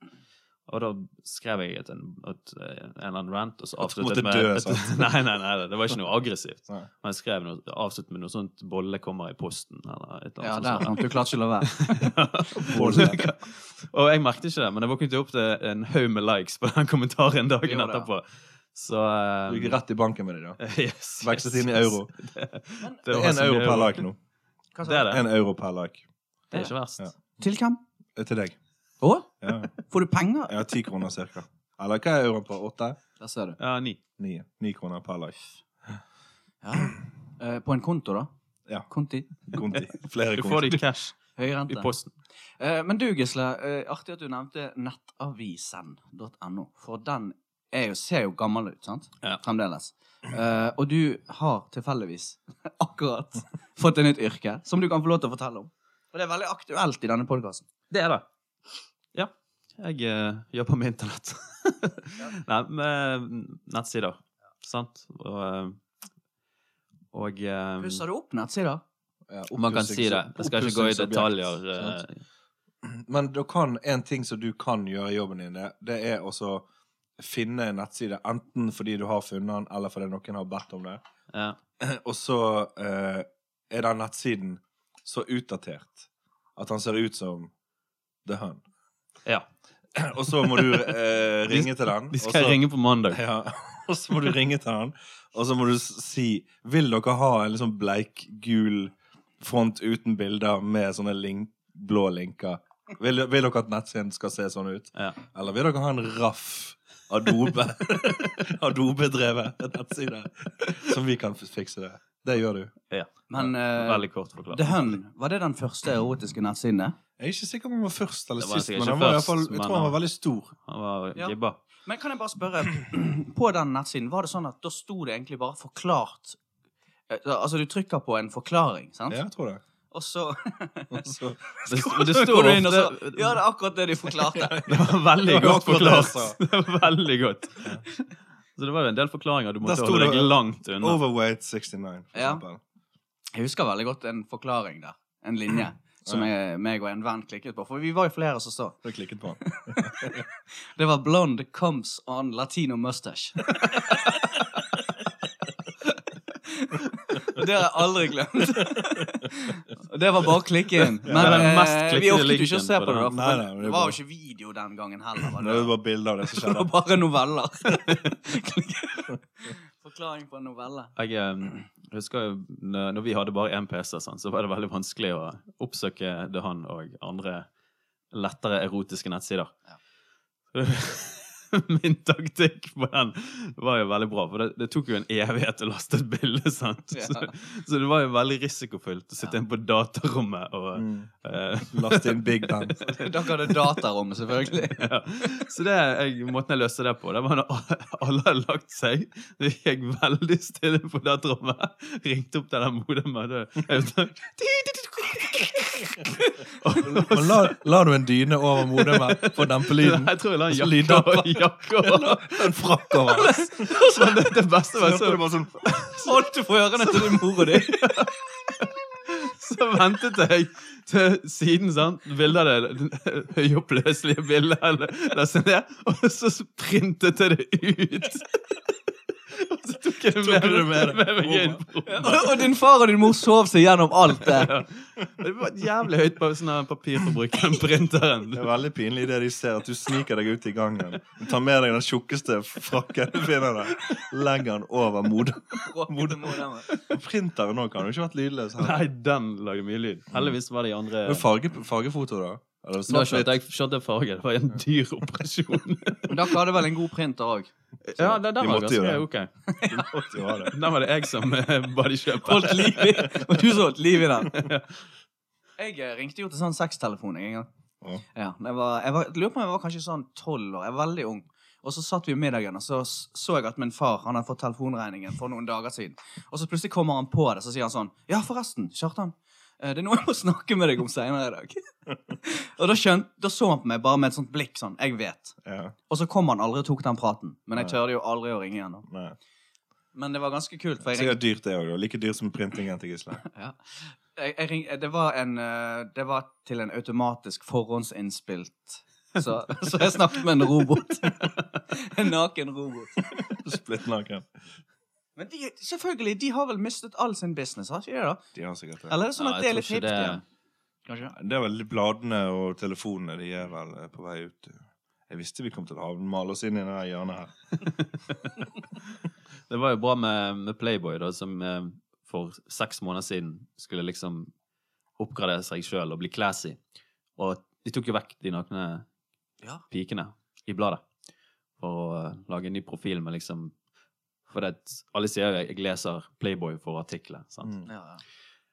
Og da skrev jeg et, en, et, eh, en eller annen rant, og så
At du måtte
avsluttet med
dø, sant?
Nei, nei, nei, det var ikke noe aggressivt.
Nei.
Men jeg skrev noe, avsluttet med noe sånt 'bolle kommer i posten' eller et eller
ja,
annet. sånt.
der fant du klart ikke å la være.
Bolle.
og jeg merket ikke det, men jeg våknet jo opp til en haug med likes på den kommentaren
Det
dagen
gjorde det.
etterpå. Så um,
Du gikk rett i banken med det, da.
yes,
Vekslet
yes,
inn i
yes.
euro.
Det,
Det
var
er en
så mye
euro per like nå.
Hva sa
Det
du?
er det.
En euro per like.
Det er ikke verst.
Ja.
Til hvem?
Det er Til deg.
Å?
Ja.
Får du penger?
Jeg har ti kroner cirka. Eller hva er euroen på? Åtte?
Der ser du.
Ja, ni.
Ni. Ni kroner per like.
Ja. Eh, på en konto, da?
Ja.
Konti.
Konti. Flere
Du
konti.
får det i cash
Høy
i
rente.
posten.
Eh, men du, Gisle, eh, artig at du nevnte nettavisen.no, for den er jo, ser jo gammel ut, sant?
Ja.
Fremdeles. Eh, og du har tilfeldigvis akkurat fått et nytt yrke som du kan få lov til å fortelle om. For det er veldig aktuelt i denne podkasten.
Det er det. Ja. Jeg eh, jobber med internett. Nei, med nettsider. Sant? Og, eh, og eh,
Pusser du opp nettsider?
Ja,
man kan si det. Jeg skal ikke gå i
oppussingsobjekt,
detaljer.
sant?
eh,
Men da kan en ting som du kan gjøre i jobben din, det, det er også finne en nettside, enten fordi du har funnet den, eller fordi noen har bedt om det.
ja.
Og så eh, er den nettsiden så utdatert at han ser ut som The Hun.
ja.
Og så må du eh, ringe til den.
De
og
skal
så-
ringe på mandag.
Ja, og så må du ringe til han, og så må du s- si Vil dere ha en liksom bleik, gul front uten bilder med sånne link, blå linker? Vil, vil dere at nettsiden skal se sånn ut?
Ja.
Eller vil dere ha en raff adobe adobedrevet nettside? Som vi kan f- fikse det. Det gjør du.
Men eh,
Veldig kort forklart.
The Hun, var det den første erotiske nettsiden? det?
Jeg er ikke sikker på om han var først eller
Det var
sist,
sikkert
men
ikke
han var i hvert
først,
fall, jeg
men eh,
tror han var
han-
veldig stor.
Han var
Ja.
gibba.
Men kan jeg bare spørre, på den nettsiden, var det sånn at da sto det egentlig bare 'forklart'? Eh, Altså, du trykker på en forklaring, sant?
Ja, jeg tror det.
Og så
Og så-
Det, men det
Så
står
går du inn og
ofte
så, Ja, det er akkurat det de forklarte.
Det var veldig
Det var
godt
akkurat det jeg
forklart. Det var veldig godt. Så det var jo en del forklaringer. Du måtte
sto
holde
det-
deg langt unna.
Overweight 69, for
Ja.
eksempel.
Jeg husker veldig godt en forklaring der. En linje. Som jeg, meg og en venn klikket på. For vi var jo flere som så.
Da klikket på han.
Det var 'Blonde comes on latino mustache'. Det har jeg aldri glemt. Og det var bare å klikke inn.
Ja, det
Men
er den mest
eh, vi orket
klikkede
jo ikke å
linken
se
på
på det, da.
den.
For
Nei, nei, men det er
det var
bra.
jo ikke video den gangen heller. Var
Det
det?
er bare bilder av det som
det var
skjedde.
bare noveller. Forklaring på en novelle.
Jeg eh, husker jo når når vi hadde bare én PC, sånn, så var det veldig vanskelig å oppsøke The Hun og andre lettere erotiske nettsider.
Ja.
Min taktikk på den var jo veldig bra, for det, det tok jo en evighet å laste et bilde. sant?
Ja.
Så, så det var jo veldig risikofylt å sitte inn på datarommet og
Mm.
eh,
Last in big band.
Dere hadde datarommet, selvfølgelig.
ja. Så det, jeg, måten jeg løste det på, det var når alle hadde lagt seg. Det gikk veldig stille på det rommet. Ringte opp til den modemet. det- jeg vet ikke.
Men la, la du en dyne over modemet for å dempe altså, lyden?
Jeg tror jeg la en
Så
jakke
lyder det
over. Jakke over.
En frakk over.
Men det, det beste var
Så hørte du
så,
bare sånn
Holdt du på ørene til din mor og di?
så ventet jeg til siden, sant. Bildet av det det høyoppløselige bildet eller lastet ned. Og så printet jeg det ut. Og så tok jeg det med,
Tok du det med deg?
med, meg inn på rommet.
Og og din far og din mor sov seg gjennom alt det.
Ja. Det var jævlig høyt på sånn her papirforbruk på den printeren.
Det er veldig pinlig det de ser, at du sniker deg ut i gangen. Du tar med deg den tjukkeste frakken du finner der. Legger den over modet. Printeren òg kan jo ikke vært lydløs.
Nei, den lager mye lyd. Heldigvis var det i andre
Men farge, fargefoto, da? Eller
Da
svart-hvitt?
skjønte jeg skjønte jeg farge. Det var en dyr operasjon.
Dere hadde vel en god printer òg?
Ja,
Vi
den, den var
måtte jo
ganske
det.
ok.
Du måtte jo ha det.
Den var det jeg som eh, bodykjøper.
Holdt liv i Og du som holdt liv i den. Jeg eh, ringte jo til sånn sextelefon jeg en gang.
Ja.
Ja, men jeg, var, jeg, var, jeg lurer på om jeg var kanskje sånn tolv år. Jeg var veldig ung. Og så satt vi i middagen, og så s- så jeg at min far han hadde fått telefonregningen for noen dager siden. Og så plutselig kommer han på det, så sier han sånn Ja, forresten, Kjartan. eh, Det er noe jeg må snakke med deg om seinere i dag. og da, skjønt, da så han på meg bare med et sånt blikk sånn. Jeg vet.
Ja,
Og så kom han aldri og tok den praten. Men jeg
Nei.
tørde jo aldri å ringe igjen. da.
nei.
Men det var ganske kult. For jeg ringte
Sikkert dyrt, det òg. Like dyrt som printingen til Gisle.
Ja. Jeg, jeg ring, det, var en, eh, det var til en automatisk forhåndsinnspilt så, så jeg snakket med en robot. En naken robot.
Splittnaken.
Men de, selvfølgelig, de har vel mistet all sin business, har ikke de det? da?
De har sikkert det.
Eller er det sånn
Ja,
at
jeg
det er
tror
litt
ikke
hipt
det-
igjen? Kanskje?
Det er vel bladene og telefonene de er vel eh, på vei ut. Jeg visste vi kom til å havne- male oss inn i det her hjørnet her.
Det var jo bra med, med Playboy, da, som eh, for seks måneder siden skulle liksom oppgradere seg sjøl og bli classy. Og de tok jo vekk de nakne
Ja.
pikene i bladet for å eh, lage en ny profil med liksom For det, at alle sier jo jeg, jeg leser Playboy for artikler. sant?
Mm.
Ja, ja.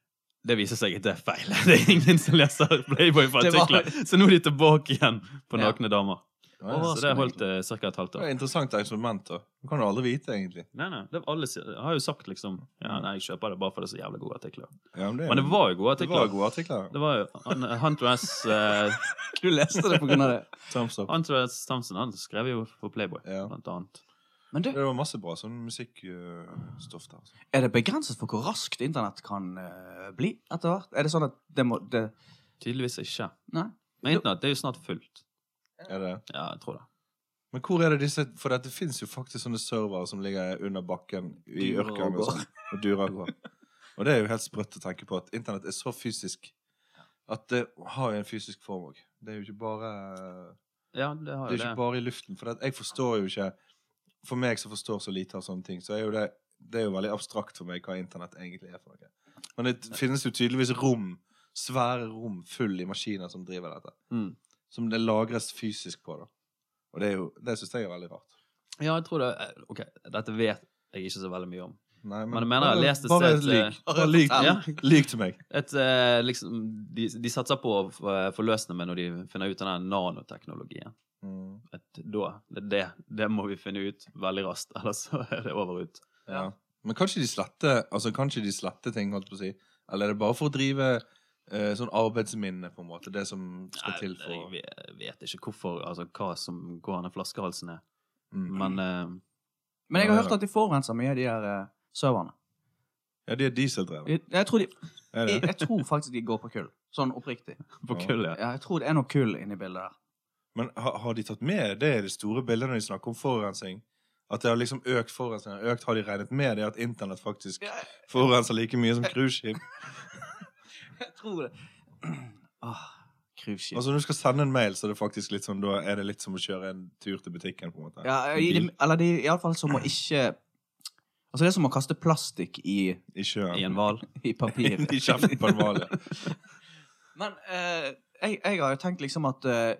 Det viser seg at det er feil. Det er ingen som leser Playboy for
Det var-
artikler. Så nå er de tilbake igjen på
Ja.
nakne damer.
Ja, ja.
Så det holdt eh, ca. et halvt
Det er
år.
et interessant eksperiment. da. Du kan jo aldri vite, egentlig.
Nei, nei, det Alle sier- har jo sagt liksom
Mm.
Ja, nei, jeg kjøper det bare for det er så jævlig gode artikler.
Ja, men, det, er-
Men det var jo gode
det var
artikler.
gode artikler.
Det var jo han, Hunter S. eh,
Du leste det på grunn av det.
Thumbs up.
Hunter S. Thompson han skrev jo for Playboy,
Ja.
blant annet.
Men du,
Det var masse bra sånn musikkstoff der. Altså.
er det begrenset for hvor raskt internett kan eh, bli etter hvert? Er det sånn at det må det,
Tydeligvis ikke.
Nei.
Men internett det er jo snart fullt.
Er det?
Ja, jeg tror det.
Men hvor er det disse For det fins jo faktisk sånne servere som ligger under bakken i
Durer og
ørkenen og
går.
sånn. Og durer og går. Og det er jo helt sprøtt å tenke på at internett er så fysisk at det har jo en fysisk form òg. Det er jo ikke bare eh,
Ja, det har
Det er
jo
ikke
det.
bare i luften. For det, at jeg forstår jo ikke For meg som forstår så lite av sånne ting, så er jo det Det er jo veldig abstrakt for meg hva internett egentlig er for noe. Men det finnes jo tydeligvis rom, svære rom, full i maskiner som driver dette.
Mm.
Som det lagres fysisk på, da. Og det er jo Det syns jeg er veldig rart.
Ja, jeg tror det. eh, Ok, dette vet jeg ikke så veldig mye om.
Nei,
Men jeg mener,
bare-
jeg leste
Bare
sett, eh,
lyg. Bare lyg.
Ja.
Lyg til meg.
Et, eh, liksom, de, de satser på å eh, forløse det med når de finner ut den her nanoteknologien.
Mm,
Et, da, det, det, det må vi finne ut veldig raskt, ellers så er det over ut.
ja. Men kanskje de sletter Altså kanskje de sletter ting, holdt på å si. Eller er det bare for å drive eh, sånn arbeidsminne, på en måte? Det som skal
Nei,
til
det-
for
Jeg ve- vet ikke hvorfor, altså hva som går an i flaskehalsen er.
mm.
Men eh,
Men jeg har hørt at de forurenser mye, de her uh, serverne.
Ja, de er dieseldrevne.
Jeg, jeg, tror de,
Er
jeg,
det?
jeg tror faktisk de går på kull. Sånn oppriktig.
på kull, ja.
Ja, jeg tror det er noe kull inni bildet der.
Men har, har de tatt med det i det store bildet når de snakker om forurensning? At det har liksom økt forurensningen. Økt har de regnet med det, at internett faktisk forurenser like mye som cruiseskip.
Jeg tror det. Åh, Cruiseskip.
Altså, når du skal sende en mail, så er det faktisk litt sånn, da er det litt som å kjøre en tur til butikken. på en måte.
Ja, i, det- eller det er iallfall som å ikke Altså, det er som å kaste plastikk i,
I sjøen.
I en hval.
i papir.
I kjeften på en hval. ja.
Men eh, jeg, jeg har jo tenkt liksom at eh,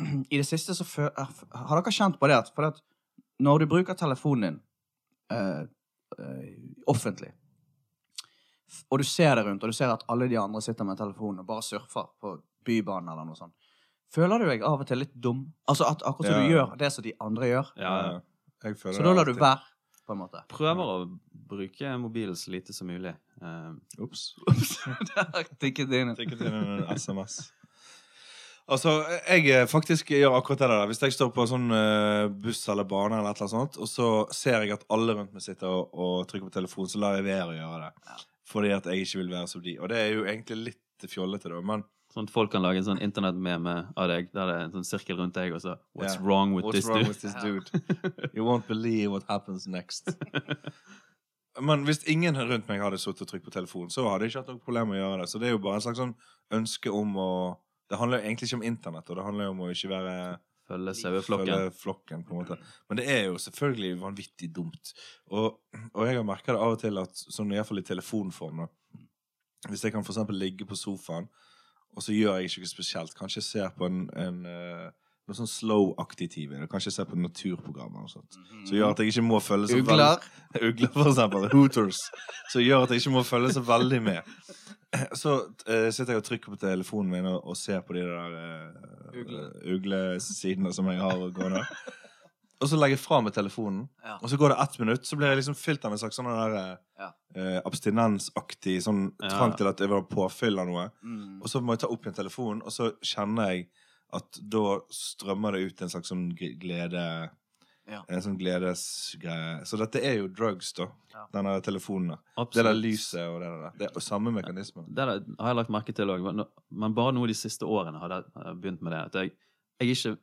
I det siste så fø- eh, Har dere kjent på det at, for at når du bruker telefonen din eh, eh, offentlig, f- og du ser deg rundt, og du ser at alle de andre sitter med telefonen og bare surfer på Bybanen eller noe sånt, føler du deg av og til litt dum? Altså at akkurat som du
Ja.
gjør det som de andre gjør,
Ja, ja.
Jeg føler
så da lar du
alltid.
være, på en måte.
Prøver å bruke mobilen så lite som mulig. Eh,
Ops.
Der tikket det inn.
Tikket inn en SMS. Altså, jeg eh, faktisk gjør akkurat det der. Hvis jeg står på en sånn eh, buss eller bane, eller et eller annet sånt, og så ser jeg at alle rundt meg sitter og, og trykker på telefonen, så lar jeg være å gjøre det. Fordi at jeg ikke vil være som de. Og det er jo egentlig litt fjollete, da. Men
sånn at folk kan lage en sånn internettmeme av deg der det er en sånn sirkel rundt deg, og så What's
Ja.
wrong with
What's
this
wrong
dude?
with this dude? You won't believe what happens next. Men hvis ingen rundt meg hadde sittet og trykt på telefonen, så hadde jeg ikke hatt noe problem med å gjøre det. Så det er jo bare en slags sånn ønske om å Det handler jo egentlig ikke om internett, og det handler jo om å ikke være
Følge saueflokken.
følge flokken, på en måte. Men det er jo selvfølgelig vanvittig dumt. Og, og jeg har merka det av og til, at sånn iallfall i telefonform da. Hvis jeg kan for eksempel ligge på sofaen, og så gjør jeg ikke noe spesielt, kanskje jeg ser på en, en eh, noe sånn slow-aktig TV, eller kanskje jeg ser på naturprogrammer og sånt,
Mhm.
som gjør at jeg ikke må følge så veldig
Ugler.
Ugler, for eksempel. Hooters. Som gjør at jeg ikke må følge så veldig med. Så eh, sitter jeg og trykker på telefonen min og, og ser på de der eh,
Ugle.
uglesidene som jeg har gående. Og så legger jeg fra meg telefonen,
Ja.
og så går det ett minutt. Så blir jeg liksom fylt av en slags sånn der, eh, eh, abstinensaktig sånn
Ja.
trang til at jeg vil ha påfyll av noe.
Mm.
Og så må jeg ta opp igjen telefonen, og så kjenner jeg at da strømmer det ut en slags sånn g- glede
Ja.
En sånn gledesgreie. Så dette er jo drugs, da.
Ja.
Denne telefonen. da. Det der
Absolutt.
lyset og det der. Det er jo samme mekanisme.
Det der har jeg lagt merke til òg, men, men bare nå de siste årene har jeg har jeg begynt med det. At jeg, jeg er ikke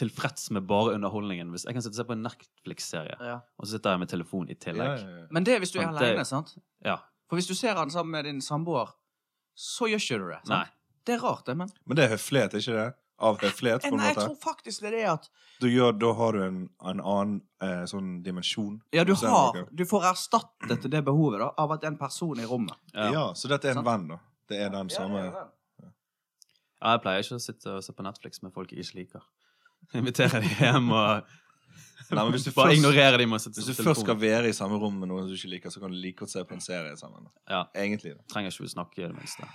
tilfreds med bare underholdningen. Hvis jeg kan sitte og se på en Netflix-serie,
Ja.
og så sitter jeg med telefonen i
Ja,
tillegg.
ja, ja.
Men det er hvis du er
Sant, det-
aleine, sant?
Ja.
For hvis du ser han sammen med din samboer, så gjør ikke du det.
Nei.
Sant? Det er rart, det, men
Men det er høflighet, ikke det? Av høflighet,
Eh,
på en
Nei, jeg
måte.
tror faktisk det er det at
Du gjør, da har du en, en annen eh, sånn dimensjon.
Ja, du
Så er det
har
noe.
Du får erstattet det behovet da av at det er en person i rommet.
Ja.
Ja, så dette er en
Sant.
venn, da. Det er den samme
Ja, jeg pleier ikke å sitte og se på Netflix med folk jeg ikke liker. Inviterer de hjem og
Nei, men hvis du
bare
først-
ignorerer de med å sitte
Hvis
på
du først skal
telefonen.
være i samme rom med noen du ikke liker, så kan du like godt se på en serie sammen. da.
Ja,
Egentlig. da.
trenger ikke å snakke i det minste.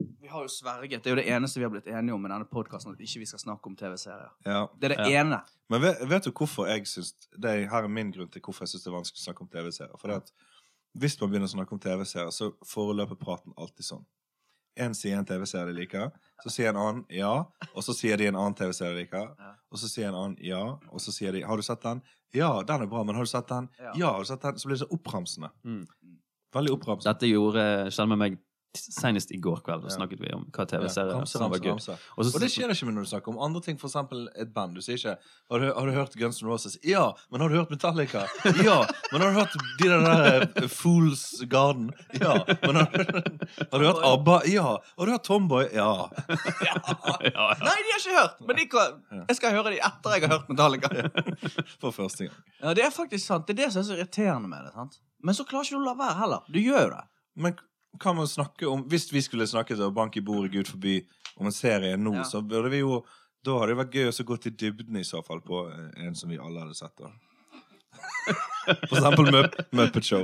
Vi har jo sverget. Det er jo det eneste vi har blitt enige om i denne podkasten, at ikke vi skal snakke om TV-serier.
Ja.
Det er det ene.
Men vet, vet du hvorfor jeg syns det er, Her er min grunn til hvorfor jeg syns det er vanskelig å snakke om TV-serier. For det at hvis man begynner å snakke om TV-serier, så foreløper praten alltid sånn. En sier en TV-serie de liker, så sier en annen ja, og så sier de en annen TV-serie de liker,
Ja.
og så sier en annen ja, og så sier de 'Har du sett den?' 'Ja, den er bra, men har du sett den?'
Ja.
'Ja, har du sett den?' Så blir det så oppramsende.
Mm.
Veldig oppramsende.
Dette gjorde skjedde med meg senest i går kveld. Da
Ja.
snakket vi om hva
Ja,
TV-serier
ramse,
som var
ramse,
gøy.
ramse.
Og så-
Og det skjer ikke med når du snakker om andre ting, for eksempel et band. Du sier ikke har du, 'Har du hørt Guns N' Roses?' Ja. Men har du hørt Metallica? Ja. Men har du hørt de der, der eh, Fools Garden? Ja. Men har, du- har du hørt ABBA? Ja. Har du hørt Tomboy? Ja.
ja, ja.
Nei, de har ikke hørt! Men de kan, jeg skal høre de etter jeg har hørt Metallica.
For første gang.
Ja, det er faktisk sant. Det er det som er så irriterende med det. sant? Men så klarer ikke du å la være heller. Du gjør jo det.
Men kan man snakke om Hvis vi skulle snakket om Bank i bordet, Gud forby, om en serie nå,
Ja.
så burde vi jo Da hadde det vært gøy å så gå til dybden i så fall på eh, en som vi alle hadde sett. da For eksempel Mupp- Muppet Show.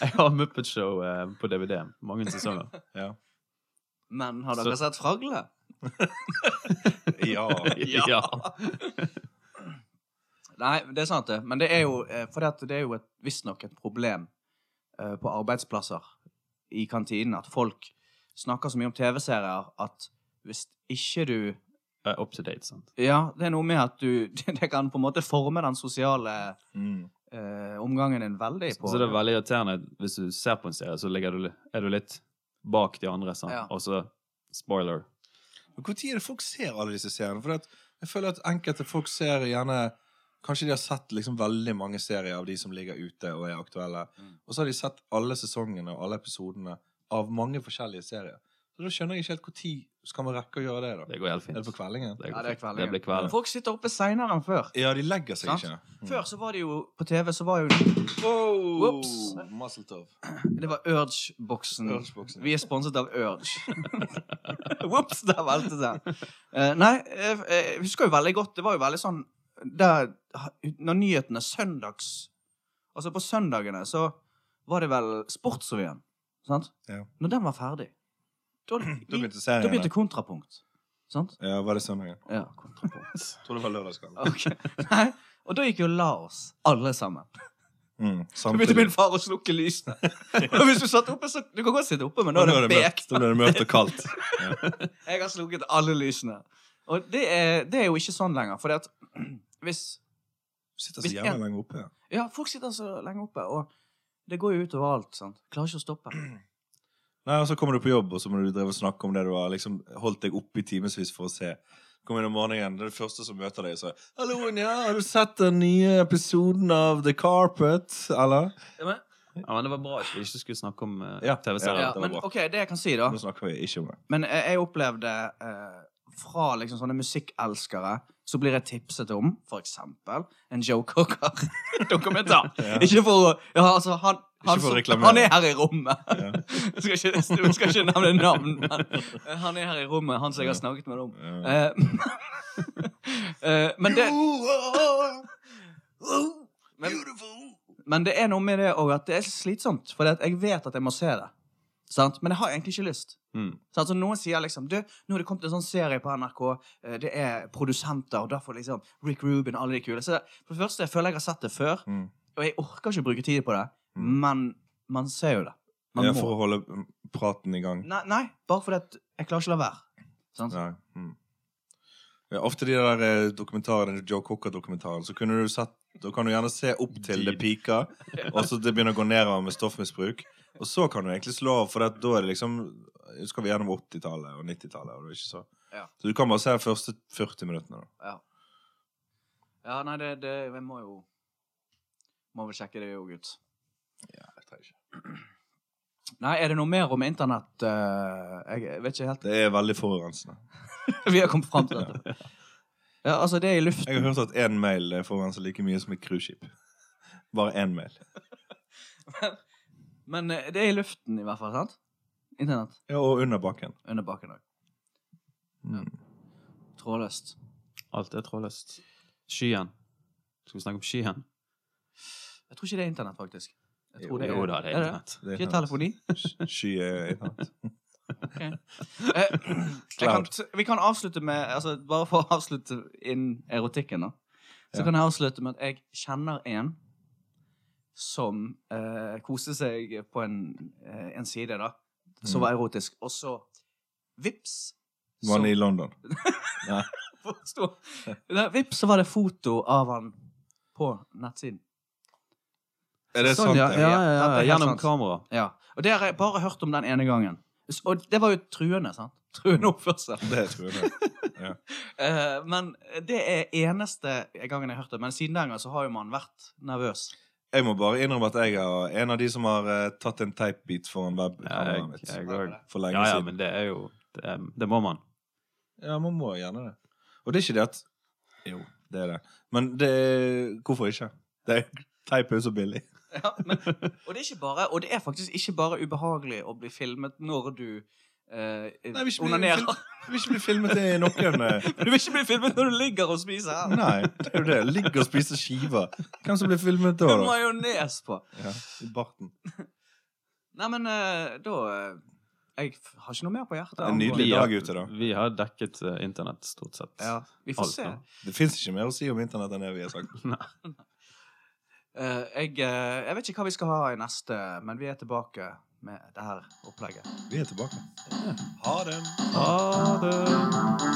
Jeg har Muppet Show eh, på DVD. Mange sesonger.
Ja.
Men har dere sett Fragle?
ja.
ja.
Nei, det er sant, det. Men det er jo, eh, fordi at det er jo et- visstnok et problem eh, på arbeidsplasser i kantinen at folk snakker så mye om TV-serier at hvis ikke du
Eh, Up to date, sant.
Ja, det er noe med at du Det kan på en måte forme den sosiale
Mm.
eh, omgangen din veldig på
Så det er veldig irriterende hvis du ser på en serie, så ligger du, li- er du litt bak de andre. sant?
Ja.
Og så spoiler.
Men Når er det folk ser alle disse seriene? For at jeg føler at enkelte folk ser gjerne Kanskje de har sett liksom veldig mange serier av de som ligger ute og er aktuelle.
Mm.
Og så har de sett alle sesongene og alle episodene av mange forskjellige serier. Så da skjønner jeg ikke helt når skal man rekke å gjøre det. da?
Det går helt
Er
fint.
det på kveldingen?
Det, går
Ja, det er
fint.
kvelden.
det blir kvelden.
Folk sitter oppe seinere enn før.
Ja, de legger seg
Sant?
ikke. Mm.
Før så var det jo på TV så var jo
Wow!
Whoops. Mm.
Masseltov.
Det var Urge-boksen.
Ørnsboksen.
Vi er sponset av Urge. Ops, der valgte det. Eh, nei, jeg, jeg husker jo veldig godt Det var jo veldig sånn der, Når nyhetene søndags Altså på søndagene så var det vel Sportsrevyen, sant?
Ja.
Når den var ferdig, da,
Da begynte
da begynte
serien.
kontrapunkt. Sant?
Ja, var det søndagen?
Ja, kontrapunkt.
Tror det var lørdagskvelden.
Ok. Nei, og da gikk jo la oss, alle sammen.
Mm,
Da begynte
samtidig.
min far å slukke lysene. Og hvis du satt oppe, så Du kan godt sitte oppe, men
Nå
nå er
er
det
det
bekt.
Da ble det mørkt og kaldt. Ja.
Jeg har slukket alle lysene. Og det er, det er jo ikke sånn lenger, for det at hvis
Sitter så
Hvis
jævla
en-
lenge oppe. ja.
Ja, folk sitter så lenge oppe, og det går jo utover alt, sant. Klarer ikke å stoppe.
Nei, og Så kommer du på jobb, og så må du drive og snakke om det du har liksom holdt deg oppe i timevis for å se. Kom inn om morgenen, det er det første som møter deg, så Hallo, Nja, har du sett den nye episoden av The Carpet, eller?
Ja, men det var bra at vi ikke skulle snakke om eh,
Ja,
TV-serier.
Ja,
det var
men
bra.
OK, det jeg kan si, da.
Nå snakker vi ikke om det.
Men jeg, jeg opplevde eh, fra liksom sånne musikkelskere så blir jeg tipset om for eksempel en Joe Cocker-dokumentar.
Ja.
Ikke for å ja, altså, han,
Ikke
han,
for å
som-
reklamere.
han er her i rommet.
Ja.
Jeg skal ikke, jeg skal ikke nevne navn, men eh, han er her i rommet, han som jeg har snakket med om.
Ja.
Eh, eh, men det men, men det er noe med det òg at det er slitsomt, for jeg vet at jeg må se det. Sant? Men jeg har egentlig ikke lyst.
Mm.
Så altså, noen sier liksom Du, nå har det kommet en sånn serie på NRK. eh, Det er produsenter, og derfor liksom Rick Rubin, alle de kule. Så for det første, jeg føler jeg har sett det før,
Mm.
og jeg orker ikke bruke tid på det.
Mm.
Men man ser jo det. Man
Ja,
må.
for å holde mm, praten i gang.
Nei, nei, bare fordi at jeg klarer ikke å la være. Sant?
Nei. Mm. Ja, ofte de der eh, dokumentarene, Joe Cocker-dokumentaren, så kunne du sett Da kan du gjerne se opp til det piker, og så det begynner å gå nedover med stoffmisbruk. Og så kan du egentlig slå av, for at da er det liksom Så skal vi gjennom 80-tallet og 90-tallet. og det er ikke Så
Ja.
Så du kan bare se de første 40 minuttene. da
Ja, nei, det, det Jeg må jo Må vel sjekke det jo, gutt.
Ja, jeg tar ikke.
Nei, er det noe mer om internett? eh, jeg vet ikke helt.
Det er veldig forurensende.
Vi har kommet fram til dette. Ja, altså, det er i luften.
Jeg har hørt at én mail eh, forurenser like mye som et cruiseskip. Bare én mail.
Men eh, det er i luften, i hvert fall. sant? Internett.
Ja, Og under bakken.
Under baken òg.
Mm.
Trådløst.
Alt er trådløst. Skyen. Skal vi snakke om skyen?
Jeg tror ikke det er internett, faktisk. Jeg tror det er,
Jo da, det er internett.
Det er
Ikke telefoni?
Sky er internett.
Eh, jeg kan, t- vi kan avslutte med altså, Bare for å avslutte inn erotikken, da. Så
Ja.
kan jeg avslutte med at jeg kjenner en som eh, koste seg på en, eh, en side, da, som var erotisk, og så vips
Var han
så-
i London?
forstå. Nei, Vips, så var det foto av han på nettsiden.
Er det
Sånn,
sant?
ja,
det?
Ja,
Ja,
ja,
det
ja.
er helt
Gjennom
sant.
kamera.
Ja. Og det har jeg bare hørt om den ene gangen. S- Og det var jo truende, sant? Truende oppførsel.
Det tror jeg.
Eh, men det er eneste gangen jeg har hørt det. Men siden den gang så har jo man vært nervøs.
Jeg må bare innrømme at jeg er en av de som har eh, tatt en teipbit foran
Jeg,
webkameraet mitt
jeg òg.
for lenge
Ja, ja,
siden.
men det er jo Det, er, det må man.
Ja, man må gjerne det. Og det er ikke det at Jo, det er det. Men det Hvorfor ikke? Det er, teip er jo så billig.
Ja, men, og, det er ikke bare, og det er faktisk ikke bare ubehagelig å bli filmet når du eh,
Nei, vi skal bli
onanerer.
Jeg vil ikke bli filmet i noen eh,
Du vil ikke bli filmet når du ligger og spiser her.
Nei, det er jo det. Ligge og spise skiver. Hvem som blir filmet da?
Med
da?
majones på.
Ja, I barten.
Nei, men eh, da eh, Jeg f- har ikke noe mer på hjertet.
En nydelig
Vi
dag
har-
ute, da.
Vi har dekket eh, internett, stort sett.
Ja, vi får
Alt
se.
nå.
Det fins ikke mer å si om internett enn det vi har sagt.
Eh, jeg, eh, jeg vet ikke hva vi skal ha i neste, men vi er tilbake med det her opplegget.
Vi er tilbake. Ha det.
Ha det.